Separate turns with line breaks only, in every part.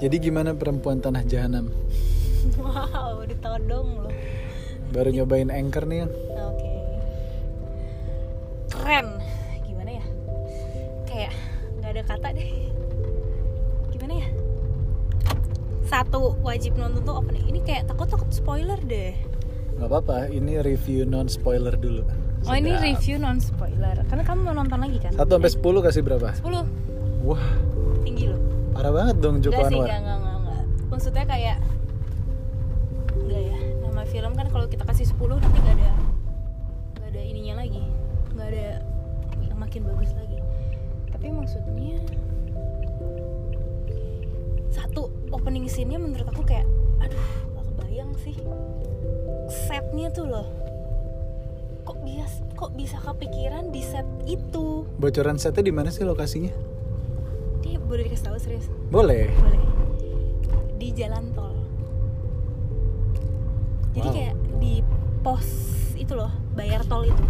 Jadi gimana perempuan tanah jahanam?
wow ditodong loh Nah,
Baru nyobain anchor nih kan?
oke keren gimana ya kayak nggak ada kata deh gimana ya satu wajib nonton tuh opening ini kayak takut takut spoiler deh
Gak apa-apa, ini review non spoiler dulu.
oh ini
Sedap.
review non spoiler karena kamu mau nonton lagi kan
Satu sampai sepuluh kasih berapa?
10
Wah,
tinggi loh
parah banget dong Joko
Enggak sih,
Anwar.
enggak, enggak, enggak, enggak. Maksudnya kayak Enggak ya, nama film kan kalau kita kasih 10 nanti enggak ada Enggak ada ininya lagi Enggak ada yang makin bagus lagi Tapi maksudnya Satu opening scene-nya menurut aku kayak Aduh, gak kebayang sih Setnya tuh loh kok bias kok bisa kepikiran di set itu
Bocoran setnya di mana sih lokasinya?
dia boleh dikasih tahu serius
Boleh.
boleh di jalan tol jadi
Wow.
kayak di pos itu loh bayar tol itu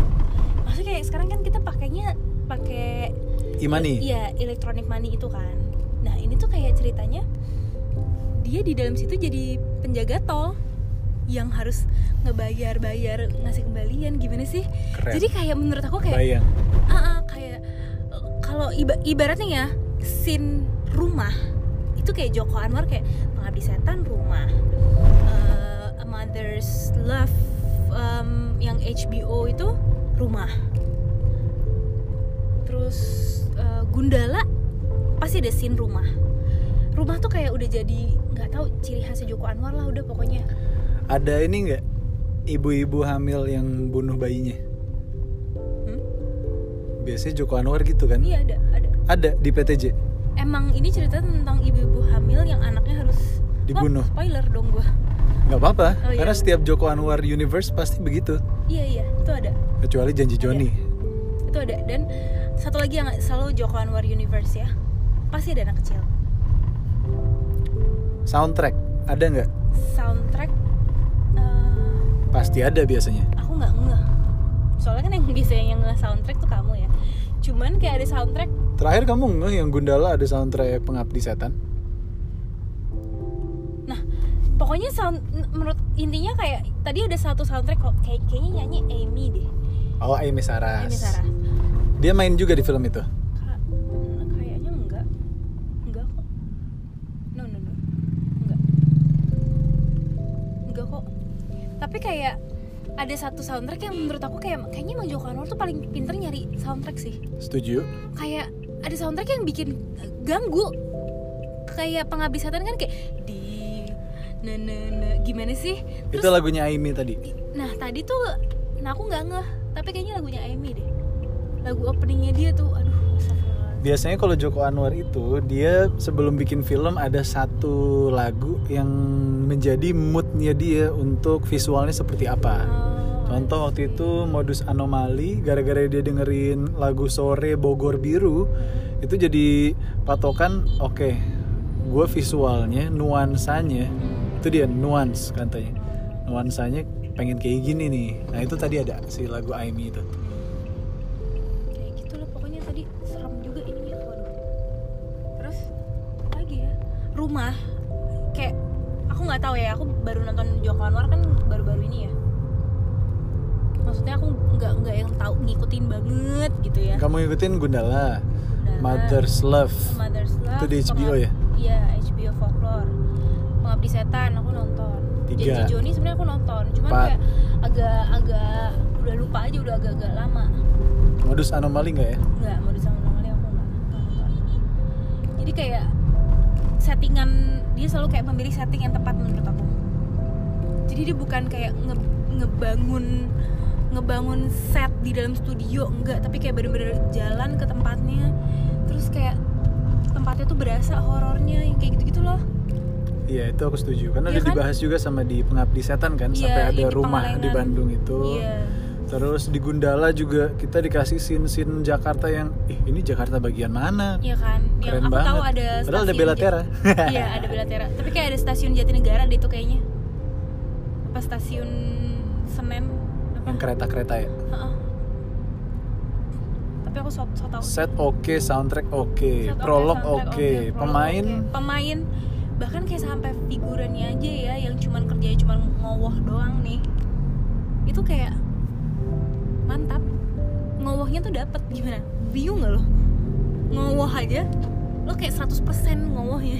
maksudnya kayak sekarang kan kita pakainya pakai
Imani.
iya electronic money itu kan nah ini tuh kayak ceritanya dia di dalam situ jadi penjaga tol yang harus ngebayar bayar ngasih kembalian gimana sih
Keren.
jadi kayak menurut aku kayak
Bayang.
Ah, ah, kayak eh, kalau iba- ibaratnya ya scene rumah itu kayak Joko Anwar kayak pengabdi setan rumah Eh, a mother's love em, yang HBO itu rumah terus eh, Gundala pasti ada scene rumah rumah tuh kayak udah jadi nggak tahu ciri khasnya Joko Anwar lah udah pokoknya
Ada ini nggak? Ibu-ibu hamil yang bunuh bayinya.
Hmm?
Biasanya Joko Anwar gitu kan?
iya ada ada
Ada di PTJ.
emang ini cerita tentang ibu-ibu hamil yang anaknya harus Wah,
Dibunuh.
spoiler dong gua
Nggak apa-apa,
Oh, iya.
karena setiap Joko Anwar universe pasti begitu.
Iya iya itu ada
Kecuali janji Joni.
Iya. itu ada dan satu lagi yang selalu Joko Anwar Universe ya pasti ada anak kecil
Soundtrack ada nggak?
soundtrack eh,
Pasti ada biasanya.
aku nggak ngeh soalnya kan yang biasanya yang ngeh soundtrack tuh kamu ya cuman kayak ada soundtrack
Terakhir kamu ngeh yang Gundala ada soundtrack Pengabdi Setan?
nah pokoknya sound n- menurut intinya kayak tadi ada satu soundtrack kok kayak kayaknya nyanyi Amy deh
Oh, Amy Saras.
Amy Sarah
Dia main juga di film itu.
Ka- kayaknya enggak enggak kok no no no enggak enggak kok tapi kayak ada satu soundtrack yang menurut aku kayak kayaknya Mang Joko Anwar tuh paling pinter nyari soundtrack sih
Setuju?
kayak ada soundtrack yang bikin ganggu kayak penghabisan kan kayak di ne ne ne gimana sih
itu
terus
lagunya Amy tadi.
nah tadi tuh nah aku nggak ngeh tapi kayaknya lagunya Amy deh lagu openingnya dia tuh aduh astagfirullah.
Biasanya kalau Joko Anwar itu dia sebelum bikin film ada satu lagu yang menjadi moodnya dia untuk visualnya seperti apa.
Oh,
kan. Contoh
I
waktu
see.
itu modus anomali gara-gara dia dengerin lagu sore Bogor Biru itu jadi patokan oke gue visualnya nuansanya itu dia nuans katanya nuansanya pengen kayak gini nih nah itu tadi ada si lagu Aimi itu
kayak gitu lah pokoknya tadi serem juga ininya waduh terus apa lagi ya rumah kayak aku nggak tahu ya aku baru nonton Joko Anwar kan baru-baru ini ya maksudnya aku nggak nggak yang tahu ngikutin banget gitu ya
kamu ngikutin Gundala
Gundala,
Mother's Love
Mother's Love
Itu di HBO
Pengab-
ya?
iya HBO Folklore Pengabdi Setan aku nonton
Tiga.
Janji Joni sebenarnya aku nonton cuman
Empat.
kayak agak-agak udah lupa aja udah agak-agak lama
modus anomali nggak ya
nggak mau sama kali aku nggak nggak nonton jadi kayak settingan dia selalu kayak memilih setting yang tepat menurut aku jadi dia bukan kayak nge- ngebangun ngebangun set di dalam studio enggak tapi kayak bener-bener jalan ke tempatnya terus kayak tempatnya tuh berasa horornya yang kayak gitu-gitu loh
iya itu aku setuju karena
Iya
udah
kan?
dibahas juga sama di Pengabdi Setan kan
Iya,
sampai ada
yang di
rumah di
Pangalengan.
Bandung itu
iya
terus di Gundala juga kita dikasih scene-scene Jakarta yang ih ini Jakarta bagian mana
iya kan yang
keren
aku
banget
tahu ada
padahal ada
stasiun
Bella
Jat-
Terra
iya ada Bella Terra tapi kayak ada stasiun Jatinegara deh itu kayaknya apa stasiun Senen apa?
yang kereta-kereta ya
Heeh. tapi aku so, so tau
set oke soundtrack oke
Set oke,
prolog
soundtrack
oke
prolog
pemain
oke. pemain bahkan kayak sampai figurannya aja ya yang cuman kerjanya cuman ngowoh doang nih itu kayak mantap ngowohnya tuh dapet gimana bingung nggak lo ngowoh aja lo kayak 100% ngowohnya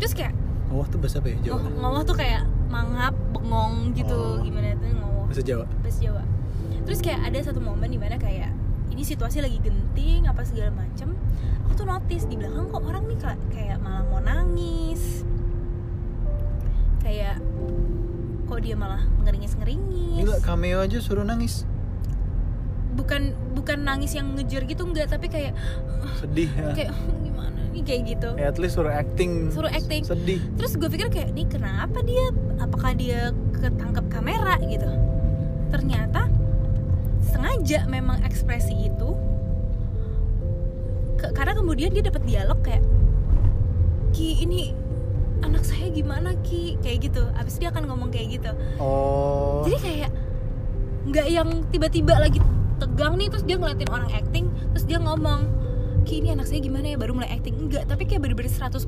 terus kayak
Ngawah tuh bahasa apa ya? Jawa?
ngo- ngowoh tuh kayak mangap bengong
Oh.
gitu gimana tuh ngowoh
Bahasa Jawa?
bahasa Jawa terus kayak ada satu momen dimana kayak ini situasi lagi genting apa segala macem aku tuh notice di belakang kok orang nih kela- kayak malah mau nangis kayak kok dia malah ngeringis ngeringis
Gila, cameo aja suruh nangis
bukan bukan nangis yang ngejer gitu enggak tapi kayak
Sedih ya
kayak gimana nih kayak gitu
Eh, at least suruh acting
Suruh acting.
Sedih
terus gue pikir kayak nih kenapa dia apakah dia ketangkep kamera gitu ternyata sengaja memang ekspresi itu Ke- karena kemudian dia dapat dialog kayak ki ini anak saya gimana ki kayak gitu abis dia akan ngomong kayak gitu
Oh
jadi kayak nggak yang tiba-tiba lagi tegang nih terus dia ngeliatin orang acting terus dia ngomong ki ini anak saya gimana ya baru mulai acting enggak tapi kayak bener-bener 100%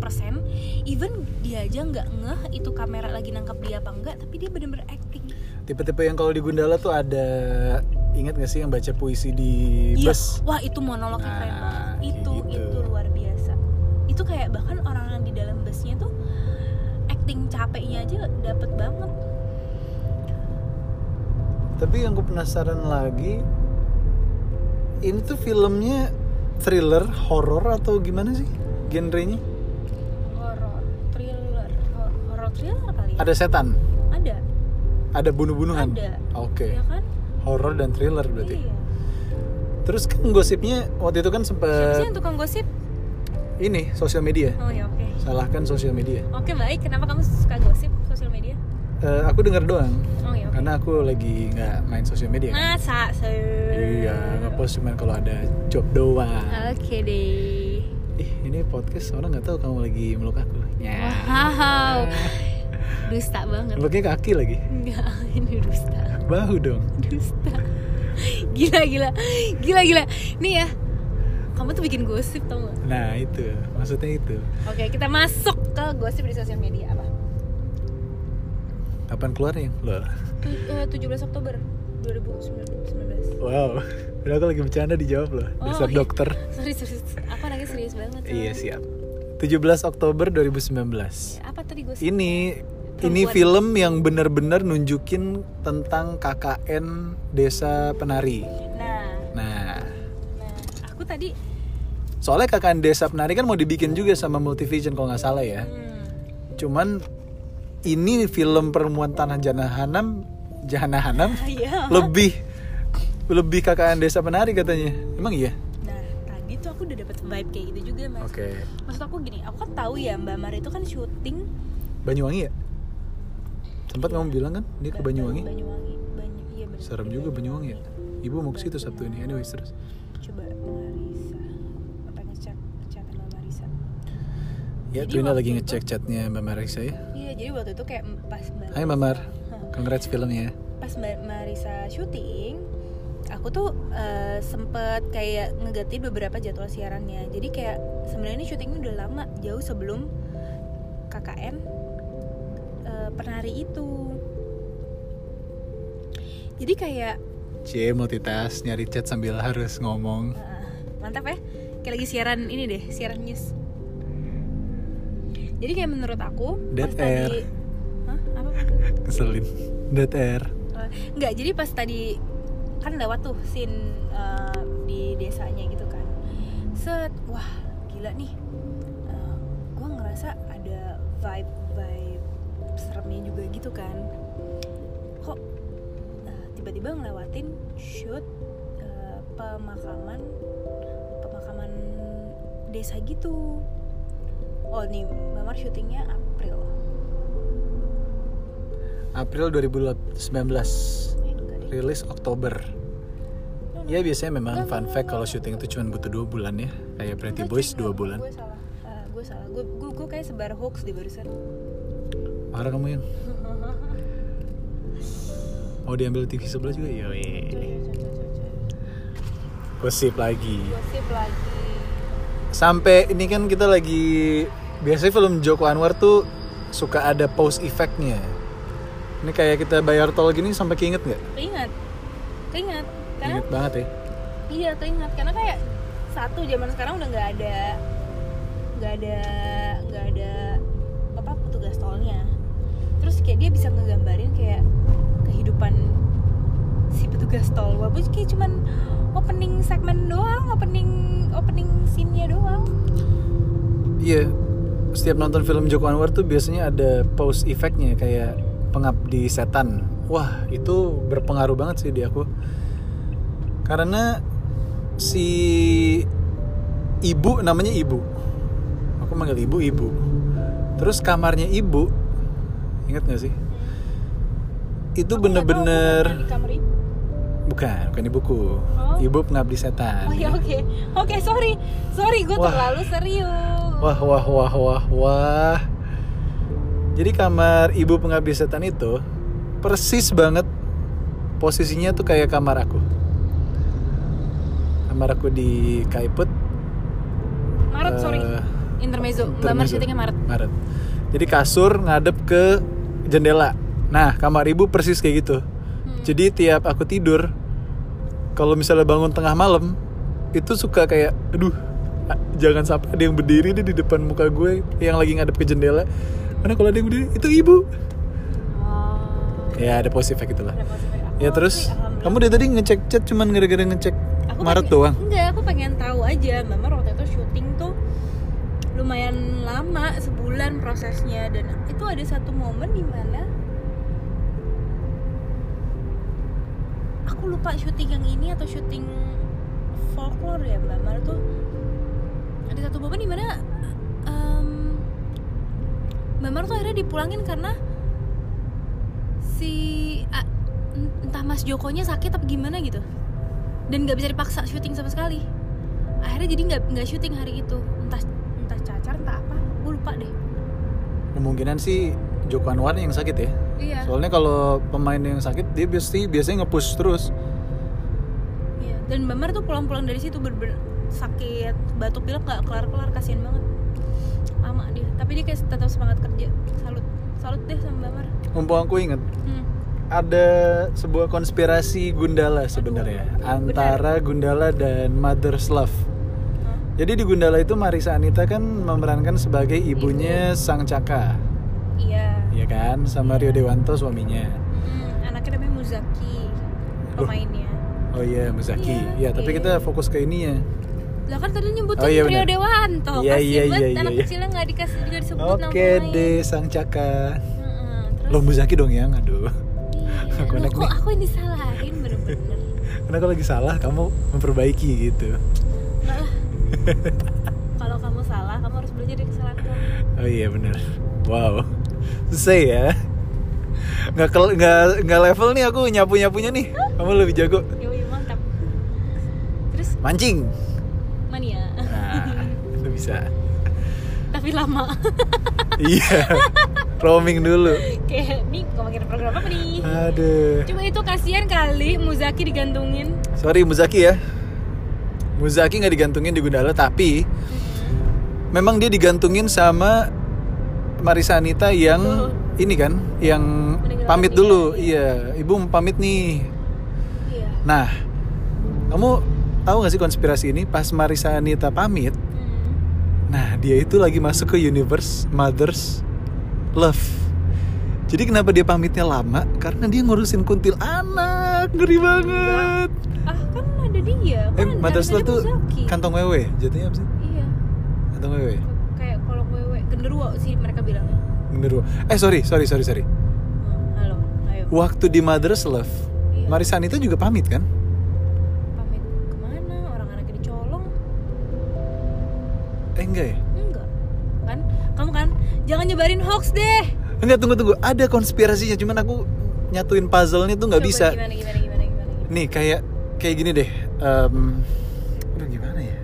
even dia aja nggak ngeh itu kamera lagi nangkap dia apa enggak tapi dia bener-bener acting
Tipe-tipe yang kalau di Gundala tuh ada Ingat gak sih yang baca puisi di
Iya,
bus?
wah itu monolog yang keren
Nah,
banget.
kayak
Itu
gitu.
itu luar biasa. Itu kayak bahkan orang yang di dalam busnya tuh acting capeknya aja dapet banget.
Tapi yang gue penasaran lagi Ini tuh filmnya thriller, horor atau gimana sih genrenya?
Horor, thriller, hor- horor thriller kali ya?
Ada setan?
Ada.
Ada bunuh-bunuhan?
Ada.
Oke
Ya kan?
Horor dan thriller berarti
Iya.
Terus kan gosipnya waktu itu kan
Siapa sih
sempet
yang tukang gosip?
Ini, sosial media
Oh ya oke.
Salahkan sosial media
Oke baik, kenapa kamu suka gosip sosial media?
Eh, Aku denger doang
Oh ya oke.
karena aku lagi nggak main sosial media kan?
Masa se.
iya ngepost cuman kalau ada job doang
Oke deh.
ih ini podcast orang nggak tahu kamu lagi meluk aku ya
Wow. Dusta banget.
meluknya kaki lagi
Enggak, ini dusta.
bahu dong
dusta gila gila gila gila nih ya kamu tuh bikin gosip tau gak
nah itu maksudnya itu
oke kita masuk ke gosip di sosial media apa
kapan keluarnya loh
eh, tujuh belas Oktober 2019
wow Padahal aku lagi bercanda dijawab loh
Oh,
dasar
iya.
dokter
sorry sorry aku anaknya serius banget
iya
soalnya.
siap 17 Oktober 2019
Ya, apa tadi gosip
ini ini
Perempuan.
film yang benar-benar nunjukin tentang KKN Desa Penari.
nah
Nah,
nah aku tadi
Soalnya KKN Desa Penari kan mau dibikin juga sama Multivision kalau nggak salah ya.
hmm,
Cuman ini film perempuan tanah Janahanam Jahanahanam
iya
lebih lebih KKN Desa Penari katanya. Emang iya?
nah tadi tuh aku udah dapet vibe kayak gitu juga mas
Oke.
maksud aku gini aku kan tahu ya mbak Mari itu kan syuting
Banyuwangi ya? Sempat kamu bilang kan dia ke
Ba-
Banyuwangi?
Banyuwangi Banyu, iya bener.
Serem
Di
juga Banyuwangi ya. Ibu mau ke situ Sabtu ini. Anyways terus.
coba Marisa apa ngecek ngecek sama Marisa
Ya,
Jadi
Twina
waktu
lagi
itu-
ngecek chatnya Mbak Marisa ya.
iya jadi waktu itu kayak pas mbak
Hai Mbak Mar, congrats filmnya.
pas mbak Marisa syuting aku tuh eh, sempet kayak ngeganti beberapa jadwal siarannya jadi kayak sebenarnya ini syutingnya udah lama jauh sebelum KKN eh, penari itu jadi kayak
Cie multitask nyari chat sambil harus ngomong.
Ah, mantap ya kayak lagi siaran ini deh siaran news jadi kayak menurut aku
Dead
pas tadi Hah? apa
Keselin. Dead air.
Eh, nggak jadi pas tadi kan lewat tuh scene eh, di desanya gitu kan set wah gila nih Eh, gua ngerasa ada vibe vibe seremnya juga gitu kan kok eh, tiba-tiba ngelewatin shoot eh, pemakaman pemakaman desa gitu oh nih Mamar syutingnya April
April 2019
Eh, enggak deh.
rilis Oktober ya biasanya memang fun fact kalau syuting itu cuma butuh dua bulan ya kayak Pretty
Enggak,
Boys
cuy,
dua
enggak.
bulan
Gue salah. Eh, gue salah. Gue gue gue kayak sebar hoax di barusan.
marah kamu yang mau diambil TV sebelah juga Iya,
Cuy,
yoi
cuy, cuy, cuy, cuy.
gosip lagi
Gosip lagi.
sampai ini kan kita lagi biasanya film Joko Anwar tuh suka ada pause effect-nya. Ini kayak kita bayar tol gini sampai keinget nggak?
keinget keinget karena
Keinget banget ya.
iya keinget karena kayak satu zaman sekarang udah nggak ada nggak ada nggak ada apa petugas tolnya terus kayak dia bisa ngegambarin kayak kehidupan si petugas tol walaupun kayak cuman opening segmen doang opening opening scene-nya doang
Iya. Setiap nonton film Joko Anwar tuh biasanya ada pause effect-nya kayak pengabdi setan. Wah, itu berpengaruh banget sih di aku. Karena si ibu namanya ibu. Aku manggil ibu ibu. Terus kamarnya ibu. Ingat gak sih? Itu
Aku nggak tahu, aku nggak pernah
bener-bener
di kamar ibu.
bukan bukan ibuku.
Oh.
Ibu pengabdi setan.
oh ya oke oke sorry sorry gue
Wah.
terlalu serius
Wah wah wah wah wah. Jadi kamar ibu pengabdi setan itu persis banget posisinya tuh kayak kamar aku. Kamar aku di Kaiput.
Maret sorry
eh,
intermezzo mbak Mar
intermezzo.
syutingnya Maret
Maret. Jadi kasur ngadep ke jendela. Nah, kamar ibu persis kayak gitu.
Hmm.
Jadi tiap aku tidur kalau misalnya bangun tengah malam itu suka kayak aduh a- jangan sampai ada yang berdiri deh di depan muka gue yang lagi ngadep ke jendela. Mana kalau ada yang berdiri itu ibu.
Oh.
Ya ada positif gitu lah.
Ada positif.
Ya
Oh,
terus
sih, alhamdulillah.
kamu dari tadi ngecek chat cuman gara-gara ngecek
Aku kan
Maret ah.
pengen-
doang.
Enggak, aku pengen tahu aja. Mbak Mar waktu itu syuting tuh lumayan lama sebulan prosesnya dan itu ada satu momen di mana aku lupa syuting yang ini atau syuting folklore ya Mbak Mar tuh ada satu momen di mana em, Mbak Mar tuh akhirnya dipulangin karena si a- entah Mas Jokonya sakit apa gimana gitu dan nggak bisa dipaksa syuting sama sekali akhirnya jadi nggak nggak syuting hari itu entah entah cacar entah apa gue lupa deh
Kemungkinan sih Joko Anwar yang sakit ya.
iya
Soalnya kalau pemain yang sakit dia pasti biasanya nge-push terus.
iya dan Mbak Mar tuh pulang-pulang dari situ bener sakit batuk pilek nggak kelar-kelar kasihan banget lama dia tapi dia kayak tetap semangat kerja salut salut deh sama Mbak Mar
Mumpung aku inget
hmm.
ada sebuah konspirasi Gundala sebenarnya ya.
Aduh,
antara Gundala dan Mother's Love.
Hah?
Jadi di Gundala itu Marisa Anita kan memerankan sebagai ibunya Sang Caka,
iya
ya kan, sama Rio Dewanto suaminya.
Mm, anaknya namanya Muzaki
Loh.
pemainnya
Oh iya, Muzaki. ya,
Iya,
tapi
oke.
kita fokus ke ininya.
lah kan tadi nyebutin
Oh, iya
Rio
benar.
Dewanto
Iya,
kasihan
iya,
banget
iya,
anak
iya.
kecilnya nggak dikasih juga disebut nama
Oke
pemain.
deh, Sang Caka.
Mm-mm, terus
Loh Muzaki dong ya, yang, aduh.
Iya,
Aku
loh,
enak
kok
nih.
aku yang disalahin bener-bener
Karena kalau lagi salah kamu memperbaiki gitu.
Enggak lah Kalau kamu salah, kamu harus belajar dari kesalahan kamu
Oh iya benar. Wow. Selesai ya. Nggak kel nggak nggak level nih aku nyapu nyapunya nih. Kamu lebih jago.
Yoi, Ya, mantap Terus,
Mancing.
mania
Nah, itu bisa.
Tapi lama
Iya. Roaming dulu.
Kayak, nih ngomongin program apa nih?
Aduh.
Cuma itu kasihan kali Muzaki digantungin
Sorry Muzaki ya. Muzaki nggak digantungin di Gundala tapi memang dia digantungin sama Marisa Anita yang
Betul.
ini kan yang
Meninggalkan
pamit
dia,
dulu.
iya.
Iya, Ibu pamit nih.
Iya
Nah, kamu tahu gak sih konspirasi ini? Pas Marisa Anita pamit,
Hmm.
nah dia itu lagi masuk ke universe Mother's Love. Jadi kenapa dia pamitnya lama? Karena dia ngurusin kuntil anak, ngeri banget.
Ah, kan ada dia
Eh,
kan
Mother's Love
harusnya
tuh kan-
Muzaki.
kantong wewe, jatuhnya apa sih?
Iya
Kantong wewe,
Kayak kalau wewe genderuwo sih mereka bilangnya
genderuwo. Eh sorry, sorry, sorry, sorry.
Hmm, Halo, ayo
Waktu di Mother's Love,
Iya.
Marisa Anita juga pamit kan?
pamit kemana orang anaknya dicolong
Eh enggak ya?
enggak kan kamu kan jangan nyebarin hoax deh
Enggak, tunggu, tunggu. Ada konspirasinya, cuman aku nyatuin puzzle-nya tuh nggak
Coba
bisa.
gimana gimana gimana gimana gimana.
nih kayak kayak gini deh Em, aduh gimana ya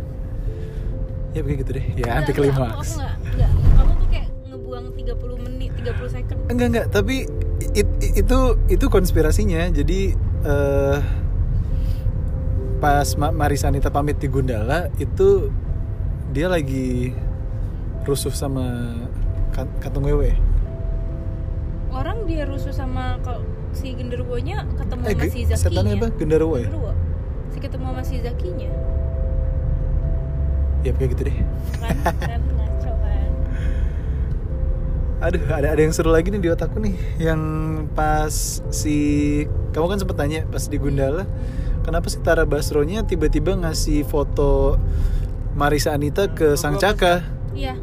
ya pokoknya gitu deh ya
Enggak,
anti
enggak, aku-
klimaks
aku enggak enggak kamu tuh kayak ngebuang 30 menit 30 second
enggak enggak tapi it- it- itu itu konspirasinya jadi eh pas Ma- Marisanita pamit di Gundala itu dia lagi rusuh sama Kat- Katong Wewe.
orang dia rusuh sama kalau si genderuwonya ketemu sama si
Eh, ge- setannya apa?
zakinya
Genderuwo ya?
genderuwo si ketemu sama si zakinya
Ya kayak gitu deh.
kan kan ngaco kan
Aduh, ada ada yang seru lagi nih di otakku nih. Yang pas si kamu kan sempat tanya pas di Gundala, kenapa sih Tara Basronya tiba-tiba ngasih foto Marisa Anita ke Sang Caka,
iya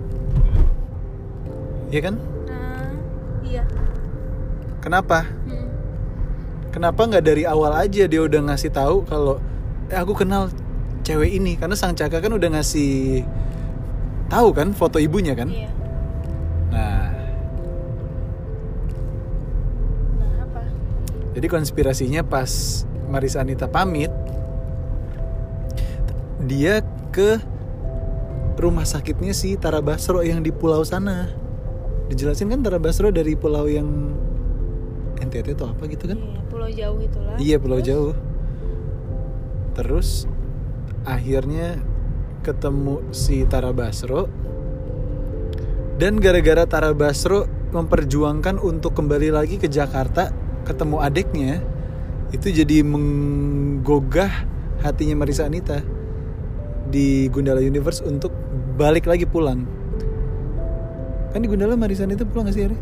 ya kan?
nah iya
Kenapa?
Mm.
Kenapa nggak dari awal aja dia udah ngasih tahu kalau eh, aku kenal cewek ini karena Sang Caka kan udah ngasih tahu kan foto ibunya kan?
iya
Nah,
nah apa
Jadi konspirasinya pas Marisa Anita pamit, dia ke rumah sakitnya si Tara Basro yang di pulau sana. Dijelasin kan Tara Basro dari pulau yang NTT atau apa gitu kan?
Iya, pulau jauh itulah
Iya pulau
Terus?
jauh. Terus akhirnya ketemu si Tara Basro dan gara-gara Tara Basro memperjuangkan untuk kembali lagi ke Jakarta ketemu adiknya itu jadi menggogah hatinya Marisa Anita di Gundala Universe untuk balik lagi pulang kan di Gundala Marisa Anita pulang gak sih hari?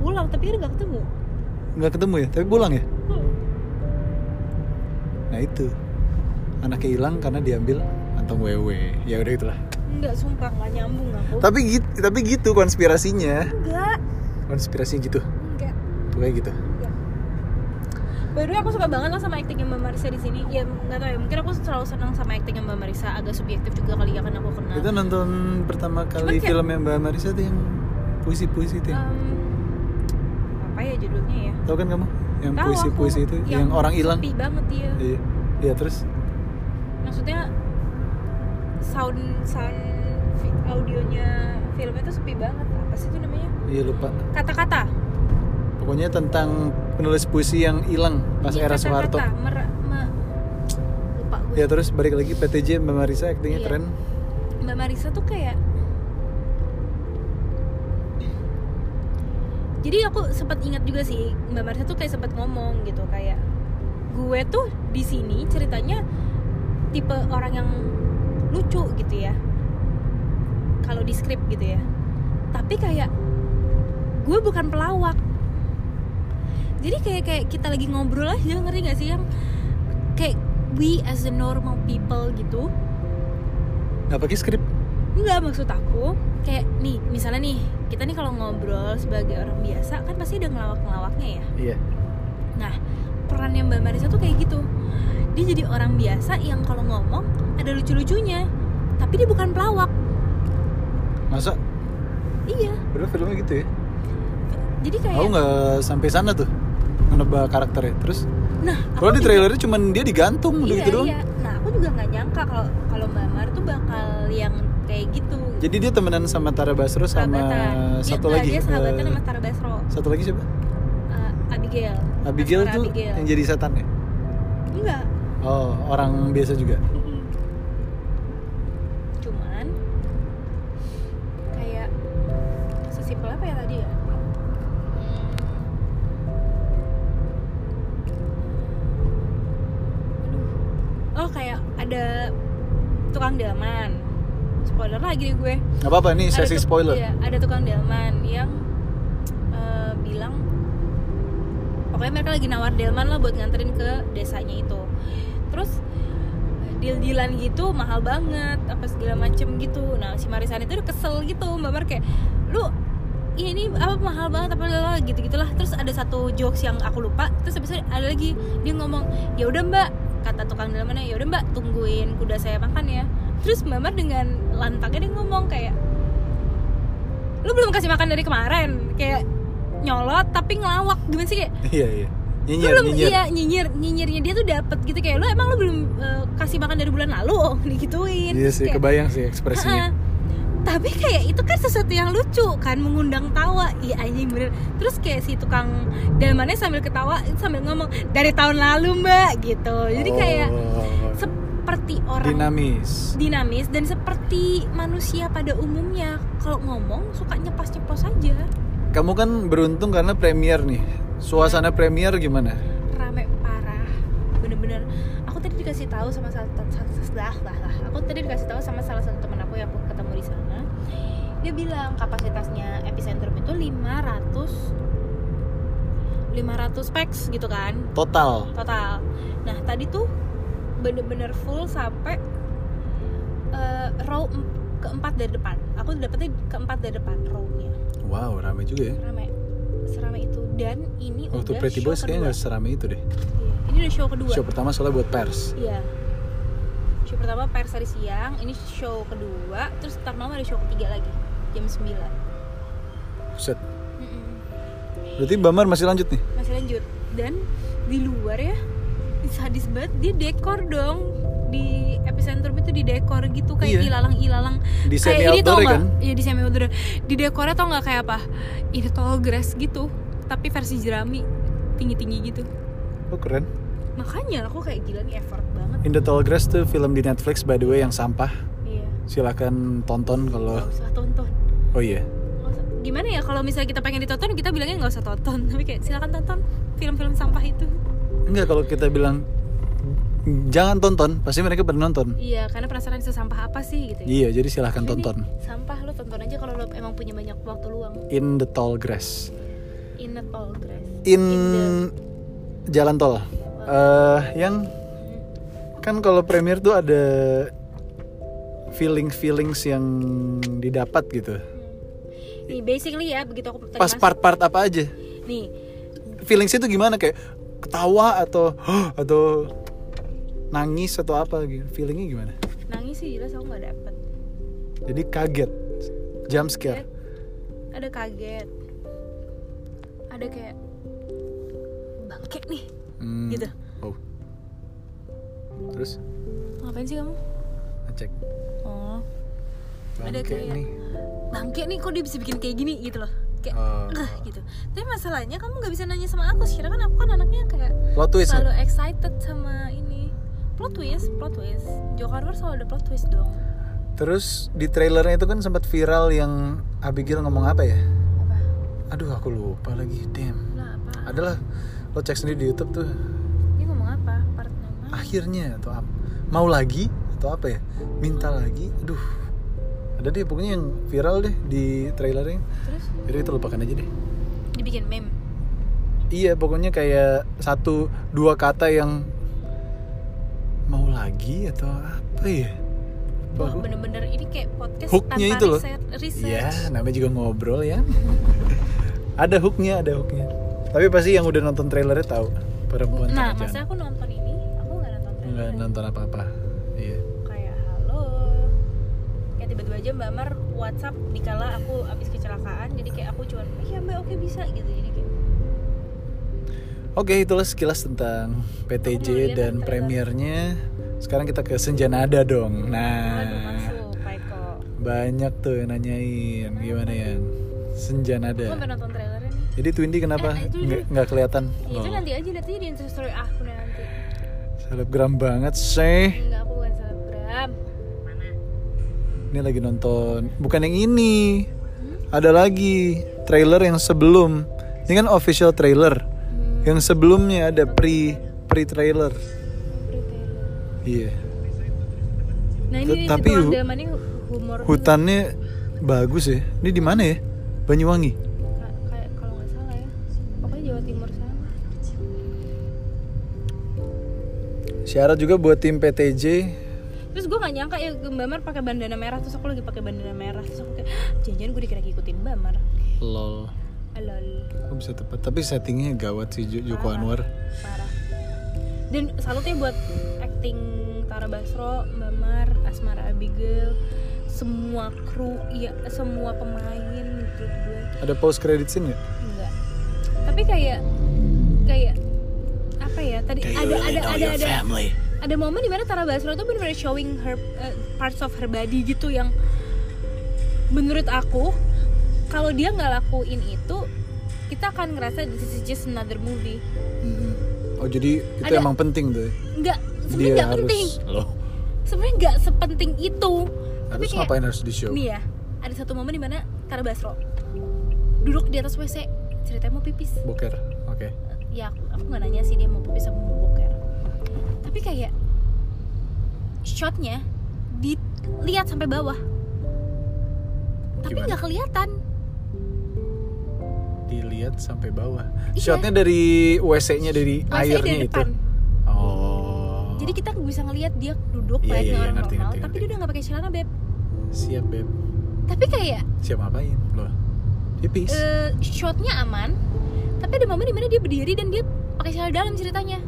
pulang tapi dia nggak ketemu
nggak ketemu ya tapi pulang ya
Hmm.
Nah itu anaknya hilang karena diambil kantong wewe. Ya udah itulah.
nggak sumpah nggak nyambung aku
Tapi gitu, tapi gitu konspirasinya.
enggak
Konspirasi gitu.
enggak
Pokoknya gitu.
enggak By the way, aku suka banget lah sama actingnya Mbak Marisa di sini. Ya nggak tahu ya, mungkin aku selalu senang sama actingnya Mbak Marisa. Agak subjektif juga kali ya kan aku kenal.
Kita nonton pertama kali
Cuman kayak- Ah.
film yang Mbak Marisa tuh yang puisi-puisi tuh. yang-
Em, apa ya judulnya ya?
Tahu kan kamu? Yang
Tahu
puisi-puisi
aku
itu yang, orang hilang.
Sepi banget dia.
Iya. Iya terus
Maksudnya sound sound fi- audionya filmnya tuh sepi banget. Apa sih itu namanya?
iya lupa.
Kata-kata.
Pokoknya tentang penulis puisi yang hilang pas
Iya,
era Soeharto.
kata-kata. Mer- me- lupa gue.
Ya terus balik lagi PTJ Mbak Marisa aktingnya
Iya.
keren.
Mbak Marisa tuh kayak jadi aku sempat ingat juga sih Mbak Marisa tuh kayak sempat ngomong gitu kayak gue tuh di sini ceritanya tipe orang yang lucu gitu ya kalau di skrip gitu ya tapi kayak gue bukan pelawak jadi kayak kayak kita lagi ngobrol aja ngerti gak sih yang kayak we as the normal people gitu
Nggak pakai skrip.
Enggak maksud aku kayak nih misalnya nih kita nih kalau ngobrol sebagai orang biasa kan pasti ada ngelawak-ngelawaknya ya.
Iya.
Nah perannya Mbak Marisa tuh kayak gitu. Dia jadi orang biasa yang kalau ngomong ada lucu-lucunya, tapi dia bukan pelawak.
Masa?
Iya.
Padahal filmnya gitu ya.
Jadi kayak.
Aku nggak sampai sana tuh menebak karakternya. Terus
Nah.
Kalau di
aku juga-
trailernya cuman dia digantung udah
Iya,
gitu doang.
iya. Nah aku juga nggak nyangka kalau kalau Mbak Mar tuh bakal yang kayak gitu.
Jadi dia temenan sama Tara Basro sama
Sahabatan. Dia-
satu
nah,
lagi.
Dia sahabatan
eh,
sama Tara Basro,
satu lagi siapa?
eh, Abigail.
Abigail
Asmara
tuh
Abigail.
yang jadi setan ya.
Enggak.
Oh, orang biasa juga.
Mm-mm. cuman kayak sesimpel apa ya tadi ya Aduh. oh kayak ada tukang delman spoiler lagi nih gue
Gak apa-apa nih
Ada
sesi
tuk-
spoiler.
iya, ada tukang delman yang eh, bilang pokoknya mereka lagi nawar delman lah buat nganterin ke desanya itu terus deal-dealan gitu mahal banget apa segala macem gitu nah si Marisan itu udah kesel gitu mbak Mar kayak lu iya ini apa mahal banget apa lah gitu gitulah terus ada satu jokes yang aku lupa terus habis itu ada lagi dia ngomong ya udah mbak kata tukang delmannya ya udah mbak tungguin kuda saya makan ya terus mbak Mar dengan lantangnya dia ngomong kayak lu belum kasih makan dari kemarin kayak nyolot tapi ngelawak gimana sih kayak
Iya, iya.
lu
Nyinyir,
belum
nyinyir.
iya nyinyir nyinyirnya dia tuh dapet gitu kayak lu emang lu belum eh, kasih makan dari bulan lalu digituin
Iya
Terus
sih,
kayak,
kebayang sih
"Ha-ha."
ekspresinya.
tapi kayak itu kan sesuatu yang lucu kan mengundang tawa iya anjing bener terus kayak si tukang delmannya sambil ketawa sambil ngomong dari tahun lalu mbak gitu jadi kayak
Oh.
se- seperti orang
dinamis
dinamis dan seperti manusia pada umumnya kalau ngomong suka nyepas nyepos aja
kamu kan beruntung karena premier nih suasana premier gimana
rame parah bener-bener aku tadi dikasih tahu sama salah satu lah lah lah aku tadi dikasih tahu sama salah satu teman aku yang aku ketemu di sana dia bilang kapasitasnya epicentrum itu 500 500 packs gitu kan
total
total nah tadi tuh bener-bener full sampai eh, row em- keempat dari depan aku dapetnya keempat dari depan rownya
wow rame juga ya
rame serame itu dan ini
waktu
udah
Pretty
show
Boys
kedua
kayaknya nggak serame itu deh
Iya, ini udah show kedua
show pertama soalnya buat pers
iya show pertama pers hari siang ini show kedua terus ntar malam ada show ketiga lagi jam 9
Buset.
Mm-mm.
berarti Bamar masih lanjut nih
masih lanjut dan di luar ya sadis banget dia dekor dong di epicentrum itu di dekor gitu kayak
Iya.
ilalang-ilalang
di semi
kayak Eh, ini tau
outdoor
nggak
kan
iya di semi outdoor di dekornya tau nggak kayak apa ini tall grass gitu tapi versi jerami tinggi-tinggi gitu
oh keren
makanya aku kayak gila nih effort banget
In the Tall Grass tuh film di Netflix by the way yang sampah
iya
silakan tonton kalau
nggak usah tonton
oh iya
Nggak usah- gimana ya kalau misalnya kita pengen ditonton kita bilangnya nggak usah tonton tapi kayak silakan tonton film-film sampah itu
enggak kalau kita bilang jangan tonton pasti mereka pernah nonton
iya karena penasaran itu sampah apa sih gitu ya.
iya jadi silahkan
Jadi,
tonton
sampah lo tonton aja kalau lo emang punya banyak waktu luang
In the Tall Grass
in a tall grass
In,
the-
jalan tol eh yang
Hmm.
kan kalau premier tuh ada feeling feelings yang didapat gitu
Hmm. nih basically ya begitu aku tadi
pas
masuk-
part-part apa aja
nih
feelings itu gimana kayak ketawa atau atau nangis atau apa gitu feelingnya gimana
nangis sih jelas aku nggak dapet
jadi kaget jump scare
Kaget. ada kaget ada kayak bangke nih
Hmm.
Gitu.
oh. terus
ngapain sih kamu
ngecek
oh Ada
bangke
kayak-
nih
bangke nih kok dia bisa bikin kayak gini gitu loh kayak
Oh.
"Ugh," gitu tapi masalahnya kamu nggak bisa nanya sama aku sih karena kan aku kan anaknya kayak
plot twist
selalu
nggak?
excited sama ini plot twist plot twist Joko Anwar selalu ada plot twist dong
terus di trailernya itu kan sempat viral yang Abigail ngomong apa ya
apa
aduh aku lupa lagi damn
lah apa
adalah lo cek sendiri di YouTube tuh
dia ngomong apa part nama
Ah. akhirnya atau apa mau lagi atau apa ya minta lagi aduh ada deh pokoknya yang viral deh di trailernya
terus
jadi itu lupakan aja deh
dibikin meme
iya pokoknya kayak satu dua kata yang mau lagi atau apa ya
wah
Lupa aku.
bener-bener ini kayak podcast
Hooknya
tanpa
itu loh.
riset, research
Iya, namanya juga ngobrol ya. ada hooknya, ada hooknya. Tapi pasti yang udah nonton trailernya tahu perempuan
nah
terjana.
maksudnya aku nonton ini aku nggak nonton
nggak
trailer
nonton apa-apa. Iya.
kayak halo kayak tiba-tiba aja mbak Mar WhatsApp dikala aku abis kecelakaan jadi kayak aku cuman iya mbak oke bisa gitu jadi kayak
Oke, itulah sekilas tentang PTJ
Kemudian
dan
trailer.
premiernya. Sekarang kita ke Senjanada dong.
aduh
Nah,
masuk Paiko
banyak tuh yang nanyain gimana yang
aku sampai
Senjanada.
nonton trailernya nih
Jadi Twindy kenapa
Eh, itu-
nggak nggak kelihatan?
Ya, itu
Oh,
nanti aja lihat aja di instastory aku deh nanti
Selebgram banget sih.
enggak aku bukan selebgram
Ini lagi nonton. Bukan yang ini.
Hmm?
Ada lagi trailer yang sebelum. Ini kan official trailer.
hmm,
Yang sebelumnya ada pre pre trailer.
Aubrey Taylor.
Iya.
nah ini
Tapi
tapi
hu-
drama ini humor
Hutannya bagus ya. Ini di mana ya? Banyuwangi.
Ka- kayak kalau nggak salah ya pokoknya Jawa Timur sana
Syarat juga buat tim PTJ.
terus gue gak nyangka ya Mbak Mar pakai bandana merah terus aku lagi pakai bandana merah terus aku kayak "Hah, jangan-jangan gue dikira ngikutin Mbak Mar
Lol.
alol
Aku bisa tepat. Tapi settingnya gawat sih Jo- Joko
Parah.
Anwar.
parah dan salutnya buat acting Tara Basro, Mbak Mar, Asmara Abigail, semua kru, ya semua pemain menurut gue
Ada post credit scene nggak?
enggak. Tapi kayak kayak apa ya tadi ada ada ada ada ada momen dimana Tara Basro tuh benar-benar showing her eh, parts of her body gitu yang menurut aku kalau dia nggak lakuin itu kita akan ngerasa this is just another movie
Mhm. Oh jadi itu
Ada-
emang penting tuh. ya?
nggak sebenarnya nggak penting
Loh.
sebenarnya nggak sepenting itu tapi
Terus
kayak
ngapain harus di show?
nih ya ada satu momen dimana Tara Basro duduk di atas WC ceritanya mau pipis
Boker. Oke.
ya aku, aku nggak nanya sih dia mau pipis apa mau boker tapi kayak shotnya dilihat sampai bawah tapi
Gimana?
nggak kelihatan
Dilihat sampai bawah.
Iya.
Shotnya dari WC-nya dari
WC
airnya
dari
Ah, iya, itu.
depan
Oh.
jadi kita bisa ngelihat dia duduk
Iya,
layaknya
iya, iya,
orang
ngerti,
normal
ngerti,
tapi
ngerti.
dia udah nggak pakai celana beb
siap beb.
tapi kayak
Siap ngapain? Loh. Pipis.
eh, shotnya aman tapi ada momen dimana dia berdiri dan dia pakai celana dalam ceritanya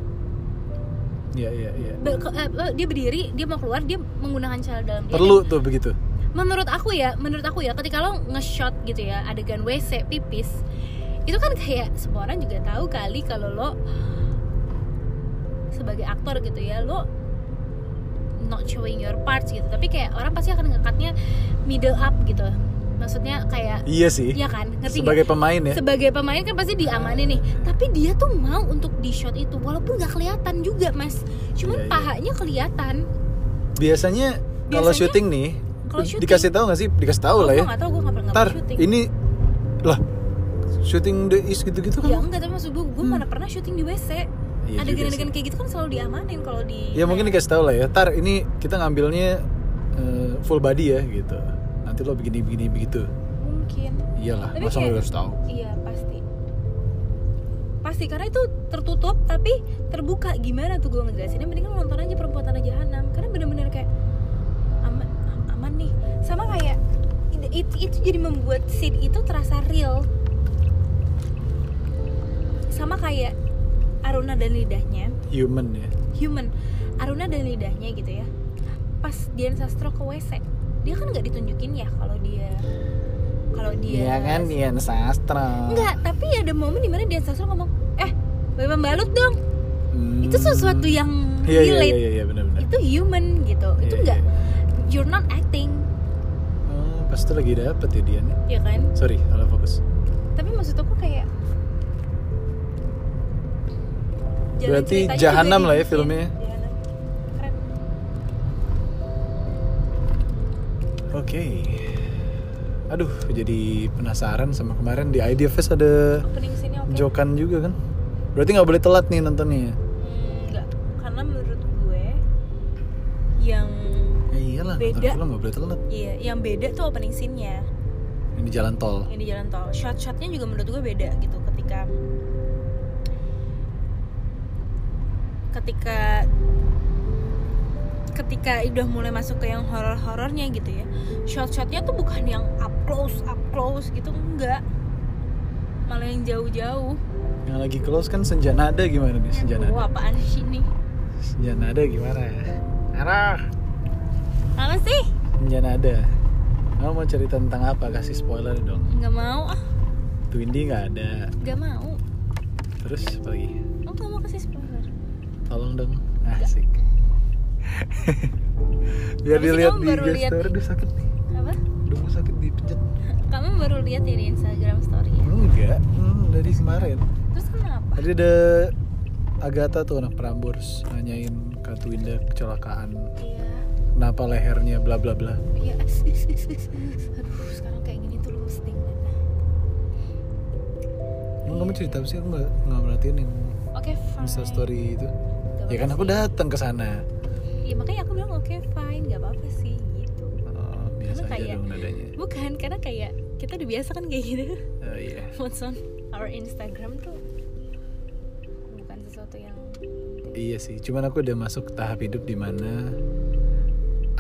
Iya iya iya.
Be- ke- eh, eh, dia berdiri dia mau keluar dia menggunakan celana dalam dia
Perlu tuh begitu.
menurut aku ya menurut aku ya ketika lo nge-shot gitu ya adegan WC pipis itu kan kayak semua orang juga tahu kali kalau lo sebagai aktor gitu ya lo not showing your parts gitu tapi kayak orang pasti akan ngekatnya middle up gitu maksudnya kayak
Iya sih.
ya kan ngerti nggak?
Sebagai pemain ya.
sebagai pemain kan pasti diamanin nih tapi dia tuh mau untuk di shot itu walaupun nggak kelihatan juga mas cuman
Iya, iya.
pahanya kelihatan
Biasanya kalau
Biasanya,
syuting nih
kalau syuting-
dikasih tahu nggak sih? Dikasih tahu lah
gue
ya.
nggak tahu gue nggak pernah
Tar,
nggak syuting
ini lah syuting the is gitu-gitu
ya
kan?
enggak tapi maksud gue gue mana pernah syuting di WC
Iya
ada
juga
gitu. adegan-adegan
sih.
kayak gitu kan selalu diamanin kalau di
Ya mungkin dikasih tahu lah ya. Tar, ini kita ngambilnya eh, full body ya gitu. Nanti lo begini-begini begitu.
mungkin
Iyalah,
Tapi
masa lo
kayak-
harus tahu.
iya pasti pasti karena itu tertutup tapi terbuka gimana tuh gue ngejelasinnya mending lu nonton aja perempuan tanah jahanam karena bener-bener kayak aman am- aman nih sama kayak it- it- itu jadi membuat scene itu terasa real sama kayak Aruna dan lidahnya
Human ya.
Iya, human Aruna dan lidahnya gitu ya pas Dian Sastro ke WC dia kan nggak ditunjukin ya kalau dia kalau dia
Iya Dian Sastra.
nggak tapi ada momen dimana Dian Sastro ngomong eh boleh membalut dong itu sesuatu yang
Hmm. Iya iya
relate
iya iya benar-benar.
itu human gitu itu
Iya,
nggak
iya.
you're not acting
Oh, pas itu lagi dapet ya Dian. ya.
ya kan
Sorry, salah fokus.
tapi maksud aku kayak jalan
Berarti
ceritanya juga
Jahanam
di-
lah ya
iya,
filmnya.
Jahanam. Keren.
Oke. Aduh, jadi penasaran sama kemarin di Idea Fest ada
opening scene-nya oke
jokan juga kan? Berarti nggak boleh telat nih nontonnya. ya?
Hmm, Enggak, karena menurut gue yang
Ya iyalah, nonton
Beda.
film nggak boleh telat.
iya yang beda tuh opening scene-nya
Ini di jalan tol.
yang di jalan tol. Shot-shotnya juga menurut gue beda gitu ketika ketika ketika udah mulai masuk ke yang horor-horornya gitu ya. Shot-shotnya tuh bukan yang up close up close gitu enggak. Malah yang jauh-jauh.
Yang lagi close kan Senja Nada gimana nih? Senja Nada.
Wah, apaan sih ini?
Senja Nada gimana? ya? Arah.
Apa sih?
Senja Nada. Kamu mau cerita tentang apa? Kasih spoiler dong.
Enggak mau ah,
Twindy nggak ada.
enggak mau.
Terus apa lagi?
Lo gak mau kasih spoiler?
Tolong dong. Asik. Biar
Tapi sih
dilihat
kamu
di
baru
IG
lihat-
story dia sakit nih.
Apa?
Udah mau sakit dipencet.
Kamu baru lihat ya di Instagram story ya?
Enggak. Hmm, dari kemarin.
Terus kenapa?
Tadi ada Agatha tuh anak perambors nanyain Kak Twinda kecelakaan
Iya,
kenapa lehernya bla bla bla
iya. Aduh, sekarang kayak gini tuh lemes ding.
Emang kamu cerita apa sih? Aku nggak nggak merhatiin yang
Oke, fine.
Insta story itu.
Gak
Ya kan
apa-apa
aku
sih.
datang ke sana.
Iya, makanya aku bilang oke, fine, gak apa-apa sih gitu.
Oh, biasa
Karena
aja
kayak- ya?
dong nadanya.
Bukan, karena kayak kita udah biasa kan kayak gitu.
Oh iya.
What's on our Instagram tuh bukan sesuatu yang
Iya sih. Cuman aku udah masuk tahap hidup di mana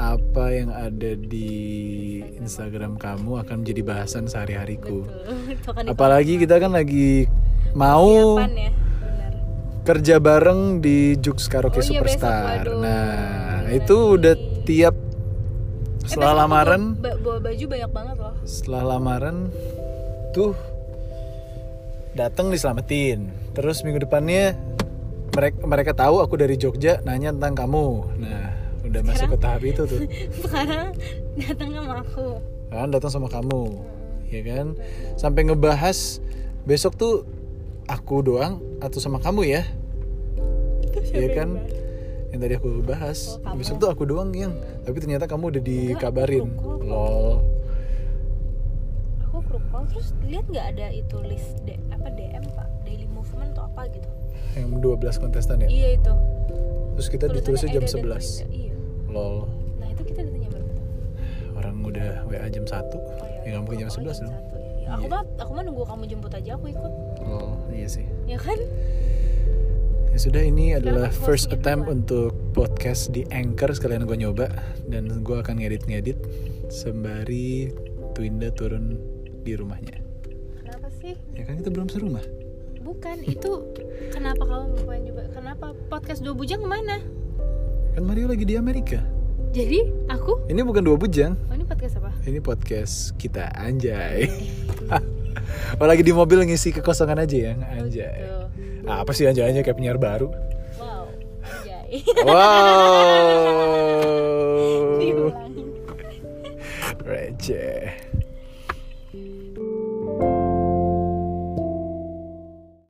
apa yang ada di Instagram kamu akan menjadi bahasan sehari-hariku.
betul. Itu akan
Apalagi kita kan lagi mau
dipersiapkan ya. Benar.
kerja bareng di Jux Karaoke
Oh iya, besok,
Superstar.
waduh.
nah,
Gila
itu
nih.
udah tiap
Eh,
setelah
besok aku
lamaran,
bawa, bawa baju banyak banget loh.
setelah lamaran tuh datang diselamatin. Terus minggu depannya mereka mereka tahu aku dari Jogja nanya tentang kamu. Nah, udah masuk ke tahap itu tuh.
sekarang datang sama aku
Kan datang sama kamu. Ya kan? Sampai ngebahas besok tuh aku doang atau sama kamu ya?
Itu
Iya
siapa
kan?
yang
yang tadi aku bahas
Oh, kamu.
besok tuh aku doang yang tapi ternyata kamu udah dikabarin
aku belum
lol
call. aku group call terus lihat nggak ada itu list D, apa DM pak daily movement atau apa gitu
yang 12 kontestan ya
iya itu
terus kita
Tulisannya
ditulisnya jam
Eda
11
dan Frida. iya
lol
nah itu kita ditanya berapa tuh? iya.
orang udah WA jam 1
Oh, iya,
ya nggak mungkin jam
pokoknya
11 dong
satu, ya. aku
Iya.
mah aku mah nunggu kamu jemput aja aku ikut
lol iya sih
ya kan
ya sudah ini adalah
aku
first attempt
hostingin duluan.
untuk podcast di Anchor sekalian gue nyoba dan gue akan ngedit-ngedit sembari Twinda turun di rumahnya
kenapa sih
ya kan kita belum serumah
bukan itu kenapa kamu bukan juga kenapa podcast dua bujang kemana
kan Mario lagi di Amerika
jadi aku
ini bukan dua bujang
oh ini podcast apa
ini podcast kita anjay Oh lagi di mobil ngisi kekosongan aja ya
Oh,
Anjay Nah,
gitu.
Apa sih anjay-anjay kayak penyiar baru
wow anjay
Wow
Diulangi.
Receh